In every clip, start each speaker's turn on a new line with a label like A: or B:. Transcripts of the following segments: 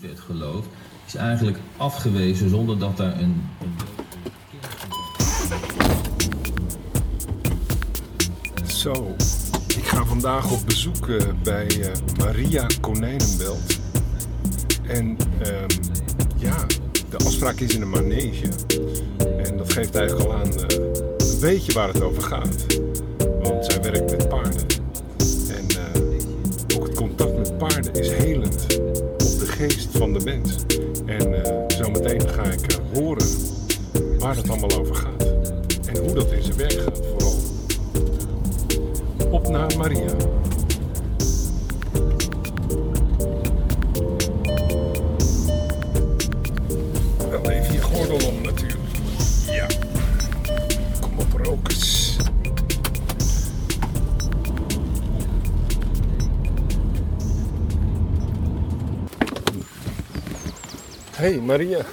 A: het geloof is eigenlijk afgewezen zonder dat daar een.
B: Zo, ik ga vandaag op bezoek eh, bij eh, Maria Konijnenbelt. En ehm, ja, de afspraak is in een manege. En dat geeft eigenlijk al aan eh, een beetje waar het over gaat. Want zij werkt met paarden. En eh, ook het contact met paarden is helend op de geest van de mens. En eh, zometeen ga ik eh, horen waar het allemaal over gaat. En hoe dat in zijn werk gaat vooral. Op naar Maria. Wel even je gordel om natuurlijk. Ja. Kom op rokers. Hey Maria.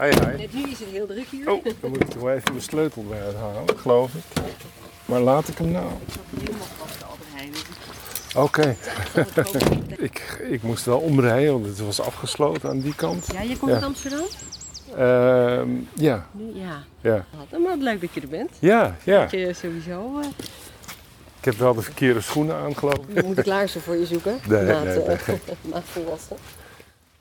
B: Hi hi.
C: Net nu is het heel druk hier.
B: Oh, dan moet ik toch even mijn sleutel bij het halen, geloof ik. Maar laat ik hem nou.
C: Ik zat helemaal vast de Albert Heijn. Dus ik
B: Oké.
C: vond het ook niet.
B: Ik, ik moest wel omrijden, want het was afgesloten aan die kant.
C: Ja, jij komt
B: Ja.
C: uit Amsterdam?
B: Ehm, ja,
C: Nu? Ja.
B: ja.
C: Maar wat leuk dat je er bent.
B: Ja, ja.
C: Dat je sowieso eh,
B: Ik heb wel de verkeerde schoenen aan, geloof ik.
C: je moet klaarsen voor je zoeken.
B: Nee,
C: maat,
B: nee, nee,
C: eh, maat volwassen.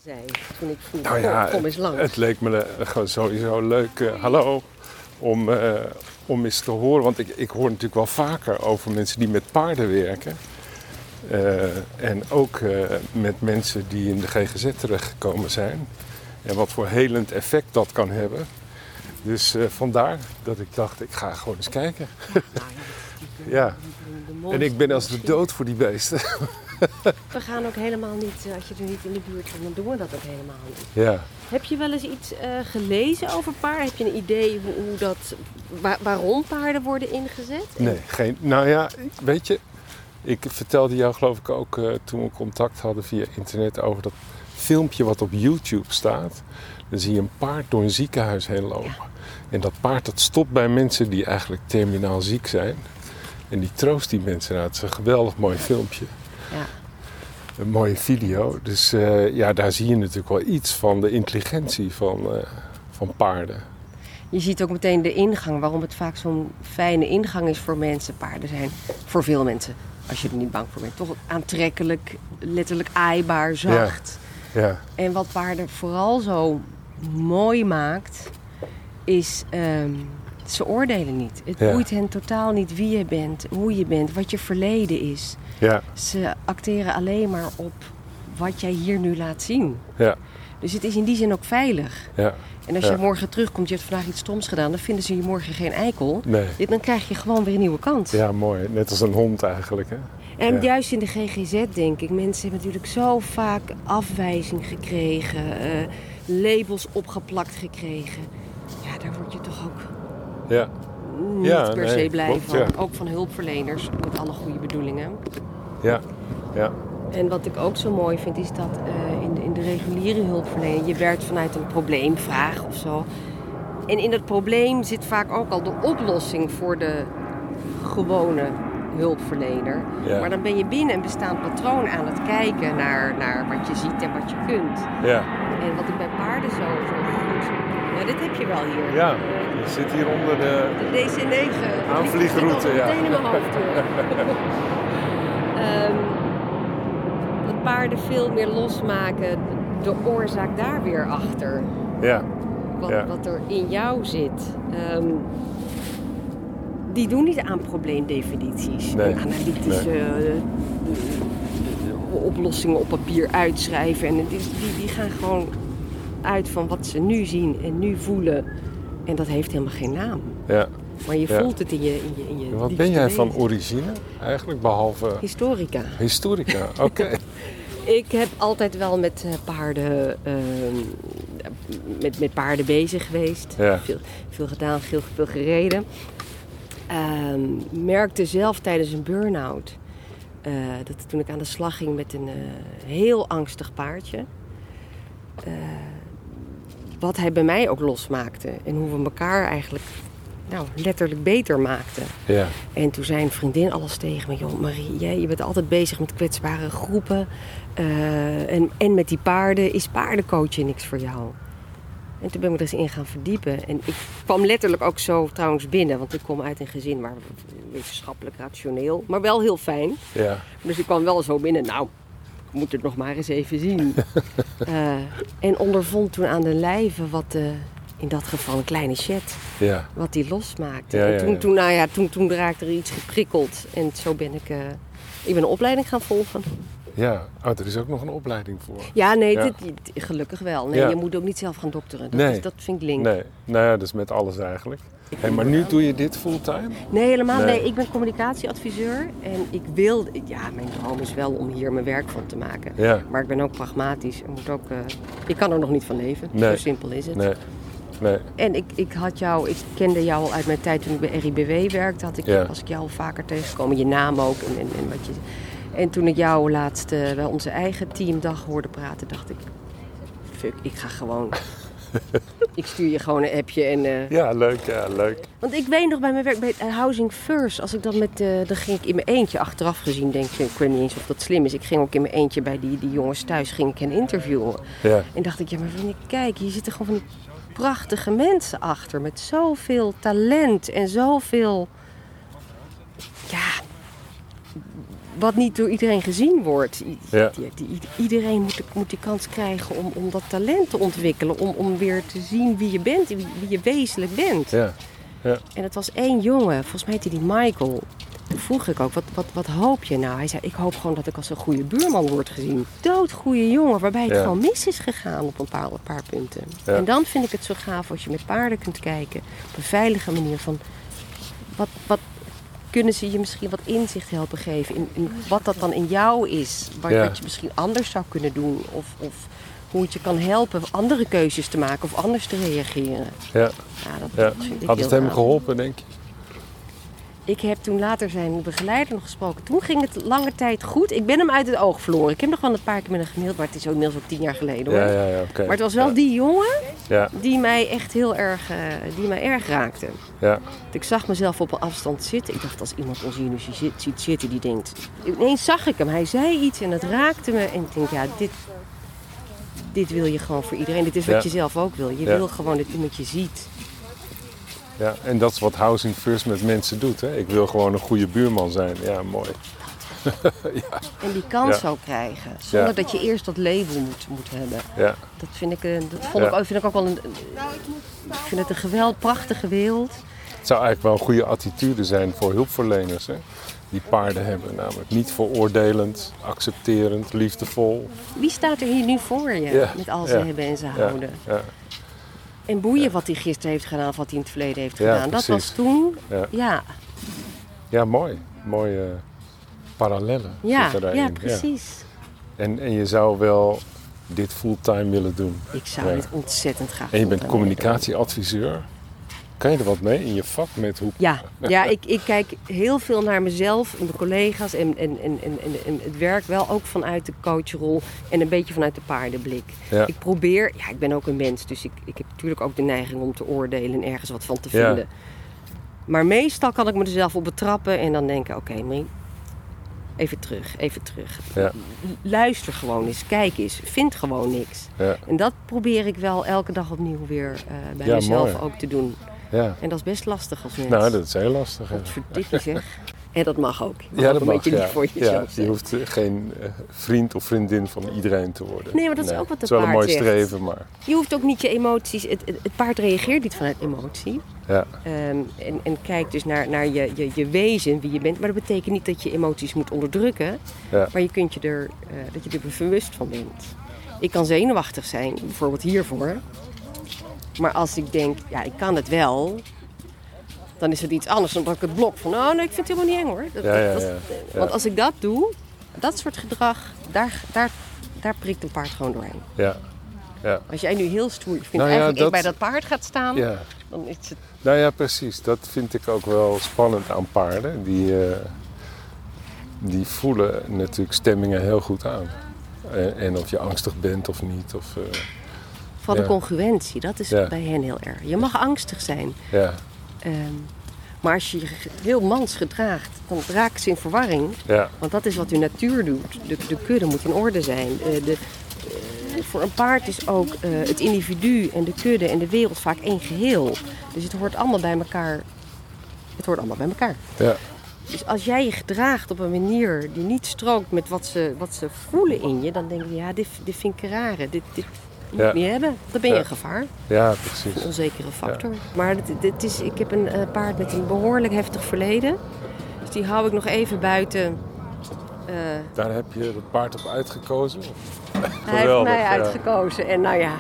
C: Zei toen ik vroeg, "Oh,
B: Nou ja,
C: kom, kom eens langs.
B: Het leek me eh, gewoon sowieso leuk, eh, hallo, om, eh, om eens te horen. Want ik, ik hoor natuurlijk wel vaker over mensen die met paarden werken. Eh, en ook eh, met mensen die in de GGZ terechtgekomen zijn. En wat voor helend effect dat kan hebben. Dus eh, vandaar dat ik dacht, ik ga gewoon eens kijken.
C: Nou ja, die kunnen-
B: Ja.
C: die kunnen de mond
B: En ik ben als de
C: misschien.
B: dood voor die beesten.
C: We gaan ook helemaal niet, eh, als je er niet in de buurt komt, dan doen we dat ook helemaal niet.
B: Ja.
C: Heb je wel eens iets eh, gelezen over paarden? Heb je een idee hoe, hoe dat, wa- waarom paarden worden ingezet? En-
B: Nee, geen. Nou ja, ik- weet je, ik vertelde jou geloof ik ook eh, toen we contact hadden via internet over dat filmpje wat op YouTube staat. Dan zie je een paard door een ziekenhuis heen lopen. En dat paard dat stopt bij mensen die eigenlijk terminaal ziek zijn. En die troost die mensen. Nou, het is een geweldig mooi filmpje.
C: Ja.
B: Een mooie video. Dus eh, ja, daar zie je natuurlijk wel iets van de intelligentie van, eh, van paarden.
C: Je ziet ook meteen de ingang, waarom het vaak zo'n fijne ingang is voor mensen. Paarden zijn voor veel mensen, als je er niet bang voor bent, toch aantrekkelijk, letterlijk aaibaar, zacht.
B: Ja,
C: En wat paarden vooral zo mooi maakt, is ehm, ze oordelen niet. Het
B: Ja.
C: boeit hen totaal niet wie je bent, hoe je bent, wat je verleden is.
B: ja,
C: Ze acteren alleen maar op wat jij hier nu laat zien.
B: ja,
C: Dus het is in die zin ook veilig.
B: ja.
C: En als
B: Ja.
C: je morgen terugkomt, je hebt vandaag iets stoms gedaan, dan vinden ze je morgen geen eikel.
B: Nee.
C: Dit- Dan krijg je gewoon weer een nieuwe kans.
B: Ja, mooi. Net als een hond eigenlijk, hè?
C: En
B: ja.
C: juist in de GGZ denk ik, mensen hebben natuurlijk zo vaak afwijzing gekregen, eh, labels opgeplakt gekregen. Ja, daar word je toch ook
B: Ja,
C: niet
B: Ja,
C: per
B: nee,
C: se blij
B: klopt,
C: van.
B: ja.
C: Ook van hulpverleners, met alle goede bedoelingen.
B: ja, ja,
C: En wat ik ook zo mooi vind, is dat eh, in, de, in de reguliere hulpverlening je werkt vanuit een probleemvraag of zo. En in dat probleem zit vaak ook al de oplossing voor de gewone hulpverlener.
B: Ja.
C: Maar dan ben je binnen een bestaand patroon aan het kijken naar, naar wat je ziet en wat je kunt.
B: ja.
C: En wat ik bij paarden zo, zo goed. Nou, dit heb je wel hier.
B: Ja, je zit hier onder de...
C: De DC-9.
B: Aanvliegroute,
C: Ik zit al
B: ja.
C: meteen in mijn hoofd. hoor. Ehm, dat paarden veel meer losmaken, de oorzaak daar weer achter.
B: Ja,
C: Wat,
B: Ja.
C: wat er in jou zit. Ehm, die doen niet aan probleemdefinities.
B: Nee.
C: En analytische eh, eh, oplossingen op papier uitschrijven. En het is, die, die gaan gewoon uit van wat ze nu zien en nu voelen. En dat heeft helemaal geen naam.
B: ja.
C: Maar je
B: Ja.
C: voelt het in je, in je, in je
B: En Wat ben
C: diepste
B: jij van
C: wezen.
B: origine eigenlijk, behalve
C: Historica.
B: historica? Oké,
C: Ik heb altijd wel met eh, paarden, ehm, met, met paarden bezig geweest.
B: Ja.
C: Veel, veel gedaan, veel, veel gereden. Ehm, merkte zelf tijdens een burn-out eh, dat toen ik aan de slag ging met een eh, heel angstig paardje. eh, wat hij bij mij ook losmaakte en hoe we elkaar eigenlijk nou, letterlijk beter maakte.
B: Ja.
C: En toen zei een vriendin alles tegen me. Joh, Marie, jij, je bent altijd bezig met kwetsbare groepen. eh, en, en met die paarden. Is paardencoachen niks voor jou? En toen ben ik me er eens in gaan verdiepen. En ik kwam letterlijk ook zo trouwens binnen. Want ik kom uit een gezin waar we- wetenschappelijk, rationeel, maar wel heel fijn.
B: Ja.
C: Dus ik kwam wel zo binnen. Nou, ik moet het nog maar eens even zien. Eh, en ondervond toen aan de lijve wat, eh, in dat geval een kleine chat,
B: Ja.
C: wat die losmaakte.
B: Ja,
C: en
B: ja,
C: toen,
B: ja.
C: Toen, nou ja, toen, toen raakte er iets geprikkeld. En zo ben ik, eh, ik ben een opleiding gaan volgen.
B: Ja. Oh, er is ook nog een opleiding voor.
C: Ja, nee,
B: Ja.
C: Dit, dit- gelukkig wel. Nee,
B: Ja.
C: je moet ook niet zelf gaan dokteren. Dat,
B: Nee.
C: is, dat vind ik link.
B: Nee. Nou ja, dus met alles eigenlijk. Hey, maar nu doe je dit fulltime?
C: Nee, helemaal
B: Nee.
C: nee. Ik ben communicatieadviseur en ik wil... Ja, mijn droom is wel om hier mijn werk van te maken.
B: Ja.
C: Maar ik ben ook pragmatisch en moet ook... eh, ik kan er nog niet van leven.
B: Nee.
C: Zo simpel is het.
B: Nee. Nee.
C: En ik, ik had jou... Ik kende jou al uit mijn tijd toen ik bij RIBW werkte. Had ik,
B: Ja.
C: Was ik jou al vaker tegengekomen. Je naam ook en, en, en wat je... En toen ik jou laatst eh, bij onze eigen teamdag hoorde praten, dacht ik... Fuck, ik ga gewoon... ik stuur je gewoon een appje en... eh,
B: Ja, leuk. Ja, leuk.
C: want ik weet nog bij mijn werk bij eh, Housing First, als ik dat met, eh dan ging ik in mijn eentje achteraf gezien, denk je, ik weet niet eens of dat slim is. Ik ging ook in mijn eentje bij die, die jongens thuis, ging ik hen interviewen.
B: Ja.
C: En dacht ik, ja maar vrienden, kijk, hier zitten gewoon van die prachtige mensen achter, met zoveel talent en zoveel, ja, wat niet door iedereen gezien wordt. I-
B: Ja.
C: die- die- iedereen moet, de- moet die kans krijgen om, om dat talent te ontwikkelen, om, om weer te zien wie je bent, wie, wie je wezenlijk bent.
B: Ja.
C: En het was één jongen, volgens mij heette die Michael. Toen vroeg ik ook, wat, wat, wat hoop je nou? Hij zei, ik hoop gewoon dat ik als een goede buurman word gezien. Doodgoeie jongen, waarbij het
B: Ja.
C: gewoon mis is gegaan op een paar, een paar punten.
B: Ja.
C: En dan vind ik het zo gaaf als je met paarden kunt kijken. Op een veilige manier van, wat, wat kunnen ze je misschien wat inzicht helpen geven? In, in wat dat dan in jou is, wat,
B: Ja.
C: wat je misschien anders zou kunnen doen. Of, of hoe het je kan helpen andere keuzes te maken of anders te reageren.
B: Ja.
C: Ja, dat
B: ja.
C: vind ik
B: Had
C: heel
B: het hem
C: gaaf.
B: geholpen, denk je?
C: Ik heb toen later zijn begeleider nog gesproken. Toen ging het lange tijd goed. Ik ben hem uit het oog verloren. Ik heb hem nog wel een paar keer met hem gemaild, maar het is ook inmiddels ook tien jaar geleden hoor.
B: Ja, ja, ja. Oké.
C: Maar het was wel
B: Ja.
C: die jongen
B: Ja.
C: die mij echt heel erg, eh, die mij erg raakte.
B: Ja.
C: Want ik zag mezelf op een afstand zitten. Ik dacht, als iemand ons hier nu zi- ziet zitten, die denkt... Ineens zag ik hem. Hij zei iets en het raakte me. En ik denk, ja, dit, dit wil je gewoon voor iedereen. Dit is wat
B: Ja.
C: je zelf ook wil. Je
B: Ja.
C: wil gewoon dat iemand je ziet.
B: Ja, en dat is wat Housing First met mensen doet. Hè? Ik wil gewoon een goede buurman zijn. Ja, mooi.
C: En die kans
B: Ja.
C: zou krijgen. Zonder dat je eerst dat label moet, moet hebben.
B: Ja,
C: Dat vind ik, eh, dat vond
B: Ja.
C: ik, ook- vind ik ook wel een. Ik vind het een geweld, prachtige wereld.
B: het zou eigenlijk wel een goede attitude zijn voor hulpverleners. Hè? Die paarden hebben namelijk niet veroordelend, accepterend, liefdevol.
C: Wie staat er hier nu voor je?
B: Ja,
C: Met al
B: ja,
C: zijn hebben en zijn
B: Ja,
C: houden.
B: ja,
C: En boeien wat hij gisteren heeft gedaan of wat hij in het verleden heeft
B: Ja,
C: gedaan. Dat
B: precies.
C: was toen.
B: Ja.
C: Ja, ja,
B: ja mooi. Mooie parallellen
C: ja,
B: zitten daarin.
C: precies.
B: En, en je zou wel dit fulltime willen doen.
C: Ik zou
B: Ja.
C: dit ontzettend graag
B: En je
C: doen.
B: bent communicatieadviseur. Kan je er wat mee in je vak met hoe...
C: Ja, ja ik, ik kijk heel veel naar mezelf en mijn collega's en, en, en, en, en, en het werk wel ook vanuit de coachrol en een beetje vanuit de paardenblik.
B: Ja.
C: Ik probeer, ja, ik ben ook een mens, dus ik, ik heb natuurlijk ook de neiging om te oordelen en ergens wat van te
B: Ja.
C: vinden. Maar meestal kan ik me er zelf op betrappen en dan denken: oké, Marie, even terug, even terug.
B: Ja,
C: Luister gewoon eens, kijk eens, vind gewoon niks.
B: ja,
C: En dat probeer ik wel elke dag opnieuw weer eh, bij
B: Ja,
C: mezelf
B: mooi.
C: ook te doen.
B: ja.
C: En dat is best lastig als mens.
B: Nou, dat is heel lastig. hè.
C: Wat verdikkie zeg. En dat mag ook. Je mag
B: Ja,
C: ook
B: dat
C: een
B: mag,
C: beetje
B: ja.
C: lief voor
B: ja,
C: jezelf
B: Je
C: zijn.
B: hoeft eh, geen eh, vriend of vriendin van iedereen te worden.
C: Nee, maar dat is ook wat de
B: Het is wel een
C: paard
B: mooi
C: zegt.
B: streven, maar...
C: Je hoeft ook niet je emoties... Het, het, het paard reageert niet vanuit emotie.
B: Ja,
C: Ehm, en, en kijkt dus naar, naar je, je, je wezen, wie je bent. Maar dat betekent niet dat je emoties moet onderdrukken.
B: ja,
C: Maar je kunt je er, eh, dat je er bewust van bent. Ik kan zenuwachtig zijn, bijvoorbeeld hiervoor. Maar als ik denk, ja, ik kan het wel... Dan is het iets anders dan dat ik het blok van... Oh, nee, ik vind het helemaal niet eng hoor. Dat-
B: Ja, ja,
C: dat-
B: ja, ja.
C: Want als ik dat doe, dat soort gedrag, daar, daar, daar prikt een paard gewoon doorheen.
B: ja, ja,
C: Als jij nu heel stoer vindt
B: Nou ja,
C: eigenlijk
B: dat-
C: echt bij dat paard gaat staan...
B: ja.
C: dan is het...
B: Nou ja, precies. Dat vind ik ook wel spannend aan paarden. Die, eh, die voelen natuurlijk stemmingen heel goed aan. Eh, en of je angstig bent of niet. Of, eh,
C: Van
B: Ja.
C: de congruentie, dat is
B: Ja.
C: bij hen heel erg. Je mag angstig zijn,
B: ja,
C: Ehm, maar als je je ge- heel mans gedraagt, dan raakt ze in verwarring.
B: Ja.
C: Want dat is wat de natuur doet. De, de kudde moet in orde zijn. Eh, de, eh, voor een paard is ook eh, het individu en de kudde en de wereld vaak één geheel. Dus het hoort allemaal bij elkaar. Het hoort allemaal bij elkaar.
B: Ja.
C: Dus als jij je gedraagt op een manier die niet strookt met wat ze, wat ze voelen in je, dan denk je, ja, dit, dit vind ik rare. Dit, dit moet
B: Ja.
C: ik niet hebben. Dan ben je
B: Ja.
C: een gevaar.
B: ja, precies.
C: Een onzekere factor. Maar dit, dit is, ik heb een eh, paard met een behoorlijk heftig verleden. Dus die hou ik nog even buiten. eh,
B: Daar heb je het paard op uitgekozen.
C: hij heeft
B: Geweldig,
C: mij
B: ja.
C: uitgekozen. En nou ja,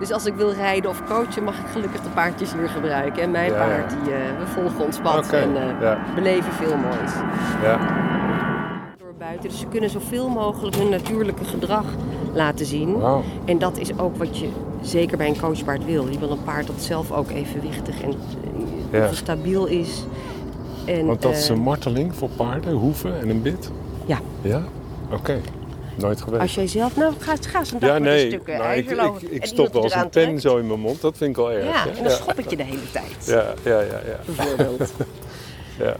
C: dus als ik wil rijden of coachen, mag ik gelukkig de paardjes hier gebruiken. En mijn
B: Ja, ja.
C: paard, die, eh, we volgen ons pad
B: Oké,
C: en eh,
B: ja.
C: beleven veel moois.
B: Ja.
C: Door buiten. Dus ze kunnen zoveel mogelijk hun natuurlijke gedrag laten zien.
B: Wauw.
C: En dat is ook wat je zeker bij een coachpaard wil. Je wil een paard dat zelf ook evenwichtig en eh,
B: Ja.
C: stabiel is. En,
B: Want dat is
C: eh,
B: een marteling voor paarden, hoeven en een bit.
C: Ja,
B: Ja? Oké. Nooit geweest.
C: als jij zelf... Nou, ga, ga eens een dag
B: Ja,
C: met
B: nee.
C: een stuk eh,
B: Nou, ik,
C: ijzer
B: ik,
C: lopen.
B: ik
C: En
B: stop
C: iemand
B: wel
C: die
B: eens een
C: eraan
B: pen
C: trekt.
B: zo in mijn mond. Dat vind ik al erg.
C: Ja,
B: hè?
C: en dan schop ik je de hele tijd.
B: Ja, ja, ja, ja.
C: Bijvoorbeeld.
B: Ja.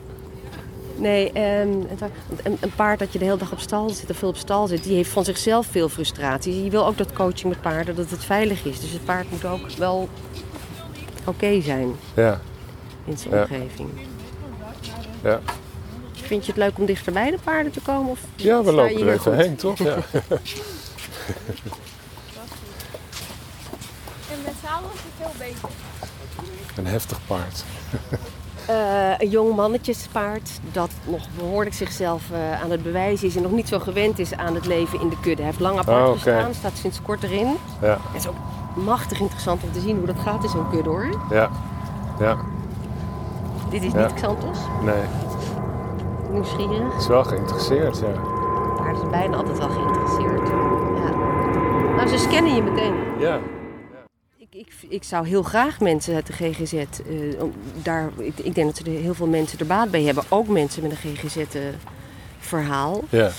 C: Nee, ehm, het wa- want een, een paard dat je de hele dag op stal zit of veel op stal zit, die heeft van zichzelf veel frustratie. Je wil ook dat coaching met paarden, dat het veilig is. Dus het paard moet ook wel oké zijn
B: ja.
C: in zijn
B: Ja.
C: omgeving.
B: ja.
C: Vind je het leuk om dichterbij de paarden te komen? Of
B: Ja,
C: sta
B: we
C: je
B: lopen
C: hier
B: er even
C: goed?
B: heen, toch? Ja.
D: En met z'n allen is het veel beter.
B: Een heftig paard.
C: Eh, een jong mannetjespaard dat nog behoorlijk zichzelf eh, aan het bewijzen is en nog niet zo gewend is aan het leven in de kudde. Hij heeft lang apart
B: Oh, oké.
C: gestaan, staat sinds kort erin.
B: Ja,
C: Het is ook machtig interessant om te zien hoe dat gaat in zo'n kudde hoor.
B: ja, ja.
C: Dit is
B: Ja.
C: niet Xantos,
B: Nee,
C: nieuwsgierig.
B: is wel geïnteresseerd, ja.
C: Maar is bijna altijd wel geïnteresseerd. Ja. Nou, ze scannen je meteen.
B: Ja,
C: Ik, ik, ik zou heel graag mensen uit de GGZ, eh, om- daar, ik, ik denk dat er heel veel mensen er baat bij hebben. Ook mensen met een GGZ-verhaal.
B: ja,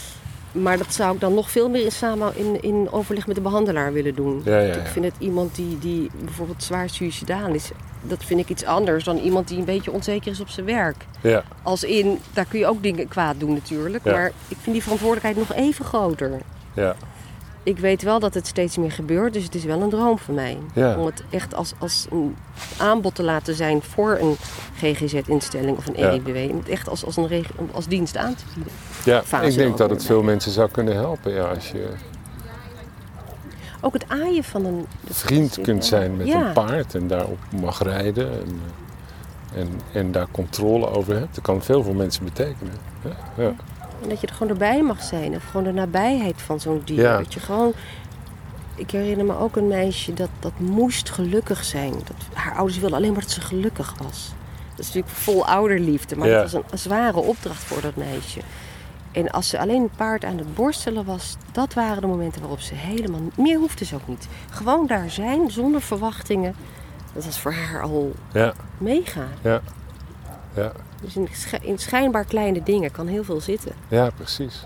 C: Maar dat zou ik dan nog veel meer in, samen, in, in overleg met de behandelaar willen doen.
B: Ja, ja,
C: Want Ik
B: ja.
C: vind het iemand die, die bijvoorbeeld zwaar suicidaal is, dat vind ik iets anders dan iemand die een beetje onzeker is op zijn werk.
B: ja.
C: Als in, daar kun je ook dingen kwaad doen natuurlijk.
B: Ja.
C: Maar ik vind die verantwoordelijkheid nog even groter.
B: ja.
C: Ik weet wel dat het steeds meer gebeurt, dus het is wel een droom voor mij.
B: Ja.
C: Om het echt als, als een aanbod te laten zijn voor een GGZ-instelling of een E
B: Ja.
C: EEBW. Om het echt als, als, een reg- als dienst aan te bieden.
B: ja.
C: Fase
B: Ik denk dat
C: erover.
B: het veel mensen zou kunnen helpen, ja, als je
C: Ook het aaien van een... dat-
B: vriend kunt zijn met
C: Ja.
B: een paard en daarop mag rijden en, eh, en, en daar controle over hebt. Dat kan veel voor mensen betekenen. Ja, ja.
C: En dat je er gewoon erbij mag zijn. Of gewoon de nabijheid van zo'n dier.
B: Ja.
C: Dat je gewoon... Ik herinner me ook een meisje dat, dat moest gelukkig zijn. Dat, haar ouders wilden alleen maar dat ze gelukkig was. Dat is natuurlijk vol ouderliefde. Maar
B: Ja.
C: dat was een, een zware opdracht voor dat meisje. En als ze alleen een paard aan het borstelen was... dat waren de momenten waarop ze helemaal... Meer hoefde ze ook niet. Gewoon daar zijn, zonder verwachtingen. Dat was voor haar al
B: ja.
C: mega.
B: ja. ja.
C: Dus in, schi- in schijnbaar kleine dingen kan heel veel zitten.
B: Ja, precies.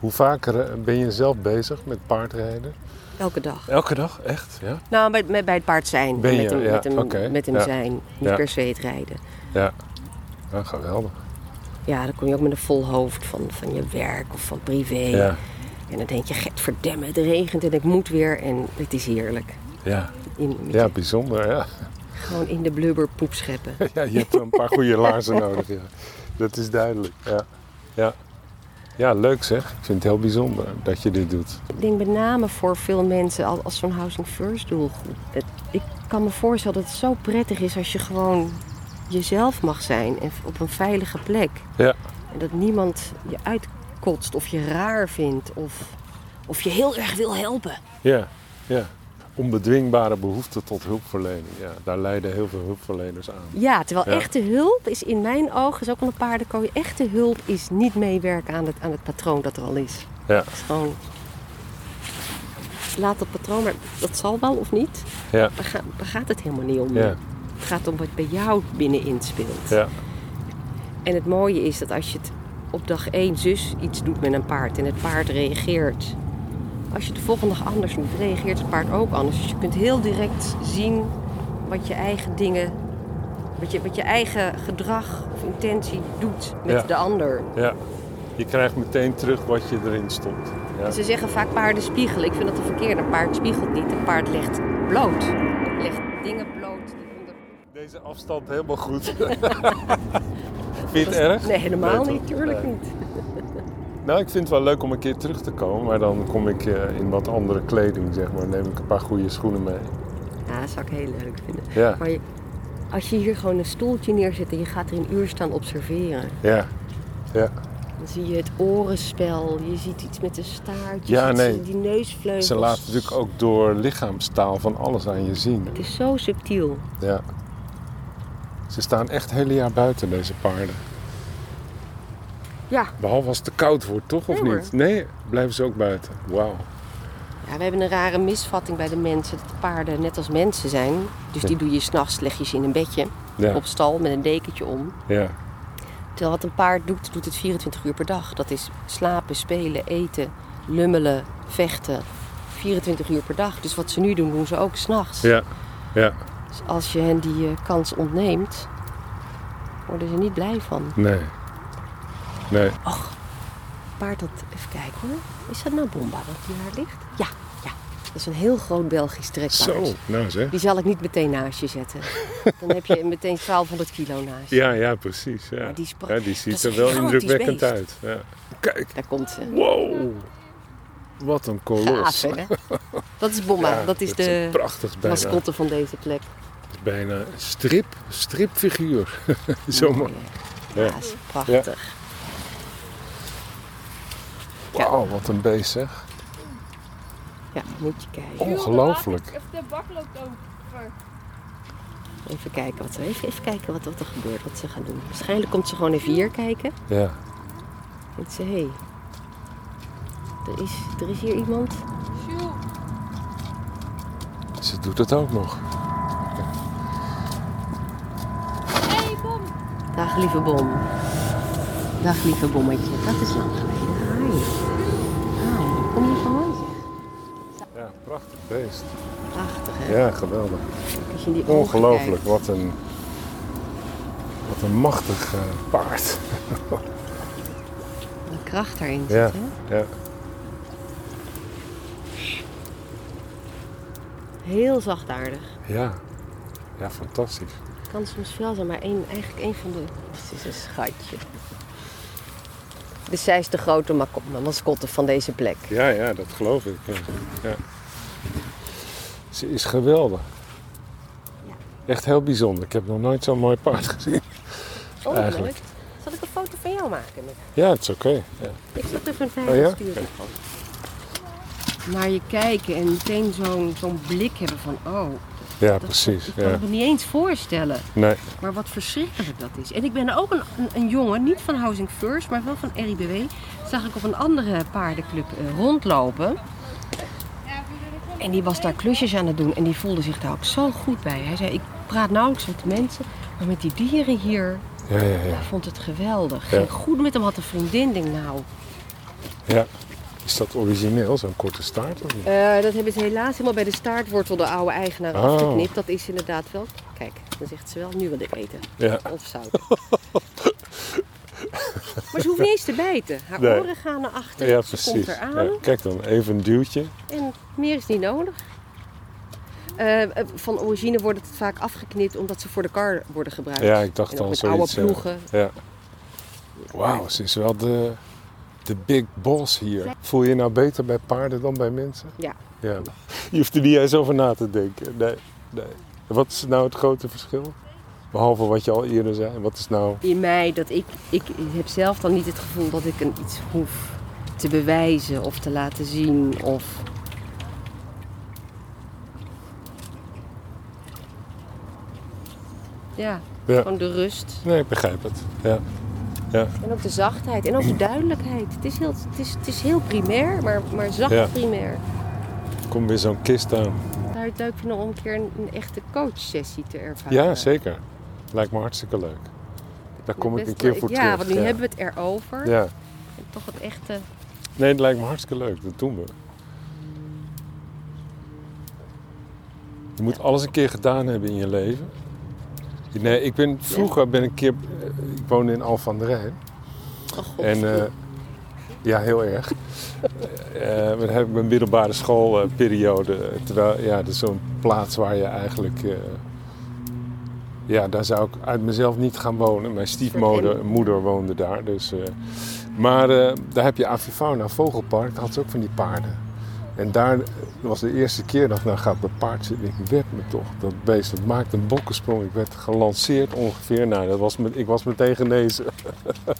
B: Hoe vaker eh, ben je zelf bezig met paardrijden?
C: Elke dag.
B: Elke dag, echt? Ja.
C: Nou, bij, met- bij het paard zijn.
B: Ben je,
C: met hem,
B: ja,
C: met hem,
B: oké,
C: met hem
B: ja.
C: zijn. Niet
B: Ja.
C: per se het rijden.
B: Ja, ja geweldig.
C: Ja, dan kom je ook met een vol hoofd van, van je werk of van privé.
B: Ja,
C: En dan denk je, get verdemmen, het regent en ik moet weer. En het is heerlijk.
B: ja.
C: In, met
B: ja
C: je-
B: bijzonder. Ja.
C: gewoon in de blubber poep scheppen.
B: ja, je hebt wel een paar goede laarzen nodig. Ja. Dat is duidelijk. Ja. Ja. ja, leuk zeg. Ik vind het heel bijzonder dat je dit doet.
C: ik denk met name voor veel mensen als, als zo'n Housing First doelgroep. Het- ik kan me voorstellen dat het zo prettig is als je gewoon jezelf mag zijn. En op een veilige plek.
B: Ja,
C: En dat niemand je uitkotst of je raar vindt of, of je heel erg wil helpen.
B: ja, ja. Onbedwingbare behoefte tot hulpverlening. Ja, daar leiden heel veel hulpverleners aan.
C: Ja, terwijl
B: Ja.
C: echte hulp is in mijn ogen, is ook al een paardenkooi, echte hulp is niet meewerken aan het, aan het patroon dat er al is.
B: Ja,
C: Het is gewoon, laat dat patroon, maar dat zal wel of niet,
B: ja,
C: daar, ga- daar gaat het helemaal niet om.
B: ja,
C: Het gaat om wat bij jou binnenin speelt.
B: ja,
C: En het mooie is dat als je het op dag één zus iets doet met een paard en het paard reageert. Als je het de volgende dag anders doet, reageert het paard ook anders. Dus je kunt heel direct zien wat je eigen dingen Wat je, wat je eigen gedrag of intentie doet met
B: Ja.
C: de ander.
B: Ja. Je krijgt meteen terug wat je erin stopt. Ja.
C: Ze zeggen vaak paarden spiegelen. Ik vind dat de verkeerde. Een paard spiegelt niet. Een paard legt bloot. Legt dingen bloot. die onder-
B: Deze afstand helemaal goed. Vind je het erg?
C: Nee, helemaal
B: Nee,
C: niet.
B: toch?
C: Tuurlijk
B: Nee.
C: niet.
B: Nou, ik vind het wel leuk om een keer terug te komen, maar dan kom ik eh, in wat andere kleding, zeg maar. Neem ik een paar goede schoenen mee.
C: Ja, dat zou ik heel leuk vinden.
B: Ja,
C: Maar je- als je hier gewoon een stoeltje neerzet en je gaat er een uur staan observeren.
B: ja, ja.
C: Dan zie je het orenspel. Je ziet iets met de staart. Je
B: Ja,
C: ziet
B: nee.
C: die neusvleugels.
B: Ze laten natuurlijk ook door lichaamstaal van alles aan je zien.
C: Het is zo subtiel.
B: Ja. Ze staan echt het hele jaar buiten, deze paarden.
C: Ja.
B: Behalve als het te koud wordt, toch? Of
C: Nee,
B: niet? Nee, blijven ze ook buiten. Wauw.
C: Ja, we hebben een rare misvatting bij de mensen dat de paarden net als mensen zijn. Dus die doe je s'nachts, leg je ze in een bedje
B: Ja,
C: op stal met een dekentje om.
B: ja,
C: Terwijl wat een paard doet, doet het 24 uur per dag. Dat is slapen, spelen, eten, lummelen, vechten. 24 uur per dag. Dus wat ze nu doen, doen ze ook s'nachts.
B: ja, ja.
C: Dus als je hen die eh, kans ontneemt, worden ze niet blij van.
B: Nee. Nee.
C: Paard dat, even kijken hoor. Is dat nou Bomba wat hier ligt? Ja, ja. Dat is een heel groot Belgisch trekpaard.
B: Zo, nou zeg.
C: Die zal ik niet meteen naast je zetten. Dan heb je meteen 1200 kilo naast je.
B: Ja, ja, precies. Ja.
C: Maar die is pra-
B: Ja, die
C: dat
B: ziet
C: is
B: er
C: een
B: wel
C: gigantisch
B: indrukwekkend
C: beest.
B: uit. Ja. Kijk,
C: Daar komt eh, ze.
B: wow. Wat een
C: Gaaf,
B: kolos.
C: hè? Dat is Bomba.
B: Ja,
C: dat is
B: een
C: de
B: prachtig bijna.
C: mascotte van deze plek.
B: Bijna een strip, stripfiguur. Zo mooi.
C: Ja,
B: Ja.
C: dat is prachtig. Ja.
B: Wauw, wat een beest zeg.
C: Ja, moet je kijken.
B: Ongelooflijk.
D: Of de bak loopt over.
C: Even kijken wat, er- even, even kijken wat, wat er gebeurt, wat ze gaan doen. Waarschijnlijk komt ze gewoon even hier kijken.
B: Ja.
C: En ze, hé, hey, er, is, er is hier iemand.
D: Sjoe.
B: Ze doet het ook nog.
D: Hey, bom.
C: Dag lieve bom. Dag lieve bommetje. Dat is lang geleden. Hi. Hi. Kom je van?
B: Ja, prachtig beest.
C: Prachtig hè.
B: Ja, geweldig.
C: Als je in die ogen
B: Ongelooflijk.
C: kijkt.
B: Wat een, wat een machtig eh, paard.
C: Wat een kracht daarin zit
B: Ja,
C: hè.
B: ja.
C: Heel zachtaardig.
B: Ja. Ja, fantastisch.
C: Kan soms fel zijn, maar één, eigenlijk één van de... Het is een schatje. Dus zij is de grote maco- mascotte van deze plek.
B: Ja, ja, dat geloof ik. Ja. Ja. Ze is geweldig. Echt heel bijzonder. Ik heb nog nooit zo'n mooi paard gezien.
C: Oh,
B: Eigenlijk.
C: leuk. Zal ik een foto van jou maken?
B: Ja, het is oké. Ja.
C: Ik zat even een
B: Oh,
C: vijf
B: ja?
C: sturen. Naar je kijken en meteen zo'n zo'n blik hebben van oh,
B: ja, precies.
C: ik kan
B: Ja.
C: het me niet eens voorstellen.
B: Nee.
C: Maar wat verschrikkelijk dat is. En ik ben ook een, een, een jongen, niet van Housing First, maar wel van RIBW. Zag ik op een andere paardenclub eh, rondlopen. En die was daar klusjes aan het doen en die voelde zich daar ook zo goed bij. Hij zei, ik praat nauwelijks met de mensen, maar met die dieren hier,
B: Ja, ja, ja.
C: hij vond het geweldig.
B: Ja.
C: Ging goed met hem, had een vriendin, denk nou.
B: ja. Is dat origineel, zo'n korte staart? Of niet?
C: Eh, dat hebben ze helaas helemaal bij de staartwortel de oude eigenaar
B: Oh.
C: afgeknipt. Dat is inderdaad wel. Kijk, dan zegt ze wel, nu wil ik eten.
B: Ja.
C: Of zout. maar ze hoeft niet eens te bijten. Haar
B: Nee.
C: oren gaan naar achter.
B: Ja,
C: Ze komt
B: precies.
C: eraan.
B: Ja, kijk dan, even een duwtje.
C: En meer is niet nodig. Eh, eh, van origine wordt het vaak afgeknipt omdat ze voor de kar worden gebruikt.
B: Ja, ik dacht
C: en ook
B: dan
C: met
B: zoiets. eh,
C: oude ploegen.
B: ja. Wauw, ze is wel de, de big boss hier. Voel je je nou beter bij paarden dan bij mensen?
C: Ja.
B: ja. Je hoeft er niet eens over na te denken. Nee, nee. Wat is nou het grote verschil? Behalve wat je al eerder zei. Wat is nou...
C: in mij dat ik, ik heb zelf dan niet het gevoel dat ik een iets hoef te bewijzen of te laten zien of... Ja,
B: Ja.
C: gewoon de rust.
B: Nee, ik begrijp het. Ja.
C: En ook de zachtheid en ook de duidelijkheid. Het is heel, het is, het is heel primair, maar, maar zacht
B: Ja.
C: primair.
B: Kom weer zo'n kist aan.
C: Zou je het leuk vinden om een keer een, een echte coachsessie te ervaren?
B: Ja, zeker. Lijkt me hartstikke leuk. Daar kom ik
C: Best
B: een keer
C: leuk.
B: voor
C: ja,
B: terug.
C: want nu hebben we het erover.
B: Ja.
C: En toch het echte...
B: Nee, het lijkt me hartstikke leuk. Dat doen we. Je moet alles een keer gedaan hebben in je leven. Nee, ik ben, vroeger ben ik een keer... eh, Ik woonde in Alphen aan de Rijn. en eh, ja, heel erg. Eh, maar dan heb ik mijn middelbare schoolperiode. terwijl, ja, dat is zo'n plaats waar je eigenlijk... eh, ja, daar zou ik uit mezelf niet gaan wonen. Mijn stiefmoeder moeder woonde daar. Dus, eh, maar eh, daar heb je Avifauna Vogelpark. Daar had ze ook van die paarden. En daar was de eerste keer dat ik nou gaat dat paard zitten. Ik werd me toch. Dat beest dat maakte een bokkensprong. Ik werd gelanceerd ongeveer. Nou, dat was met, ik was meteen genezen.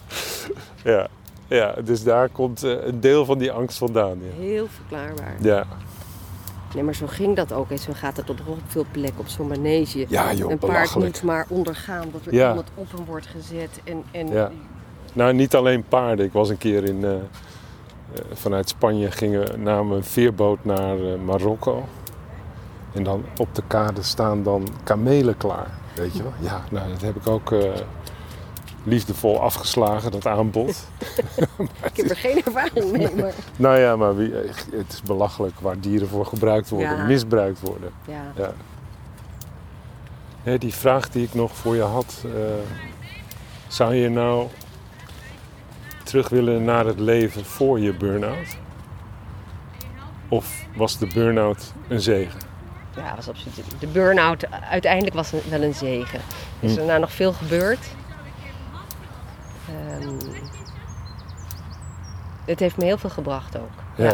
B: ja. ja, dus daar komt eh, een deel van die angst vandaan. Ja.
C: Heel verklaarbaar.
B: Ja,
C: Nee, maar zo ging dat ook. En zo gaat het op nog veel plekken op zo'n manege.
B: ja joh,
C: een paard
B: belachelijk.
C: moet maar ondergaan dat er
B: Ja.
C: iemand op hem wordt gezet. En, en
B: Ja. Nou, niet alleen paarden. Ik was een keer in, eh, eh, vanuit Spanje gingen, we- namen we een veerboot naar eh, Marokko. En dan op de kade staan dan kamelen klaar. Weet je wel? Ja, nou, dat heb ik ook eh, liefdevol afgeslagen, dat aanbod.
C: ik heb er geen ervaring mee. Maar...
B: nou ja, maar wie, eh, het is belachelijk waar dieren voor gebruikt worden,
C: Ja.
B: misbruikt worden.
C: Ja.
B: Ja. Hé, die vraag die ik nog voor je had. eh, zou je nou terug willen naar het leven voor je burn-out? Of was de burn-out een zegen?
C: ja, was absoluut. De burn-out eh, uiteindelijk was een- wel een zegen.
B: Hm.
C: Is er daarna nog veel gebeurd? Ehm, het heeft me heel veel gebracht ook.
B: Ja.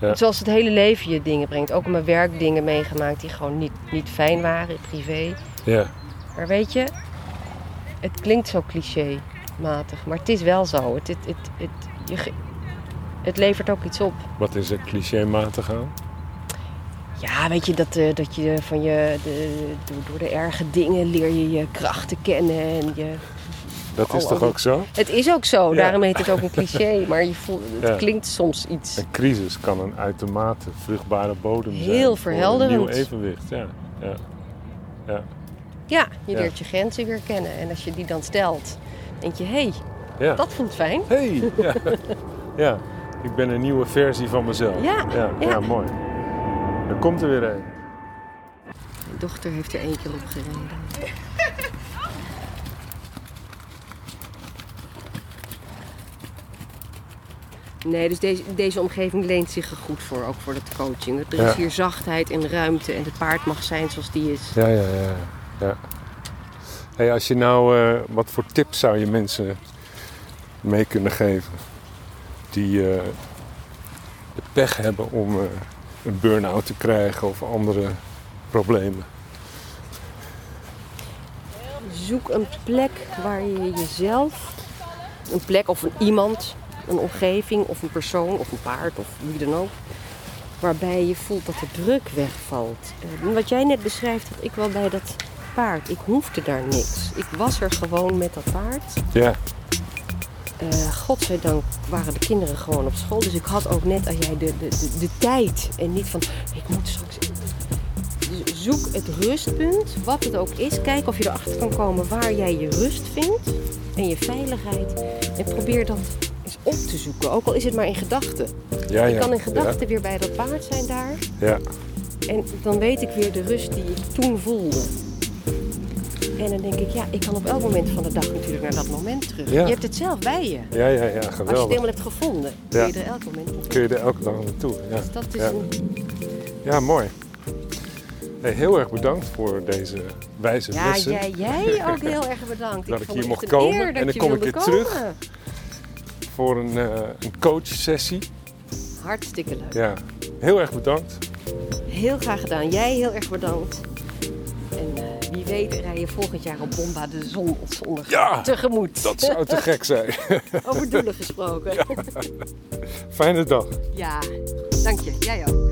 B: Ja.
C: Zoals het hele leven je dingen brengt. Ook in mijn werk dingen meegemaakt die gewoon niet, niet fijn waren, privé.
B: ja.
C: Maar weet je, het klinkt zo clichématig, maar het is wel zo. Het, het, het, het, je ge- het levert ook iets op.
B: Wat is er clichématig aan?
C: Ja, weet je, dat, eh, dat je van je, de, door- door de erge dingen leer je je krachten kennen. En je...
B: Dat is
C: Oh,
B: toch
C: oh.
B: ook zo?
C: Het is ook zo,
B: Ja.
C: daarom heet het ook een cliché, maar je voelt, het
B: Ja.
C: klinkt soms iets.
B: Een crisis kan een uitermate vruchtbare bodem zijn.
C: Heel
B: voor
C: verhelderend.
B: Een nieuw evenwicht, ja. ja.
C: Ja, je
B: Ja.
C: leert je grenzen weer kennen. En als je die dan stelt, denk je, hé,
B: ja.
C: dat voelt fijn.
B: Hey! Ja. ja, ik ben een nieuwe versie van mezelf.
C: Ja,
B: ja,
C: ja.
B: ja, mooi. Er komt er weer een.
C: Mijn dochter heeft er één keer op gereden. Nee, dus deze, deze omgeving leent zich er goed voor, ook voor dat coaching. Er is
B: Ja.
C: hier zachtheid en ruimte en het paard mag zijn zoals die is.
B: Ja, ja, ja. ja. Hey, als je nou, eh, wat voor tips zou je mensen mee kunnen geven die eh, de pech hebben om eh, een burn-out te krijgen of andere problemen?
C: Zoek een plek waar je jezelf, een plek of een iemand, een omgeving of een persoon of een paard of wie dan ook, waarbij je voelt dat de druk wegvalt. Eh, Wat jij net beschrijft, had ik wel bij dat paard. Ik hoefde daar niks. Ik was er gewoon met dat paard.
B: Ja,
C: Eh, godzijdank waren de kinderen gewoon op school. Dus ik had ook net als jij de, de, de, de tijd. En niet van, ik moet straks... Dus zoek het rustpunt, wat het ook is. Kijk of je erachter kan komen waar jij je rust vindt. En je veiligheid. En probeer dat eens op te zoeken. Ook al is het maar in gedachten.
B: ja,
C: Ik
B: ja.
C: kan in gedachten weer bij dat paard zijn daar.
B: Ja, ja.
C: En dan weet ik weer de rust die ik toen voelde. En dan denk ik, ja, ik kan op elk moment van de dag natuurlijk naar dat moment terug.
B: Ja.
C: Je hebt het zelf bij je.
B: Ja, ja, ja,
C: Als je het
B: geweldig.
C: helemaal hebt gevonden,
B: Ja.
C: kun je er elk moment op.
B: Kun je er elke dag naartoe. Ja,
C: Dus dat is
B: ja.
C: een-
B: ja mooi. Hey, heel erg bedankt voor deze wijze
C: Ja,
B: lessen.
C: jij, jij ook heel erg bedankt.
B: Dat ik
C: vond
B: hier
C: het
B: mocht
C: een
B: komen
C: eer
B: en
C: dat
B: dan
C: je
B: kom ik
C: wilde
B: weer terug.
C: komen.
B: Voor een, eh, een coachsessie.
C: Hartstikke leuk.
B: Ja, heel erg bedankt.
C: Heel graag gedaan. Jij heel erg bedankt. En eh, wie weet rij je volgend jaar op Bomba de zon of zondag
B: Ja,
C: tegemoet.
B: dat zou te gek zijn.
C: Over doelen gesproken. Ja.
B: Fijne dag.
C: ja, dank je. Jij ook.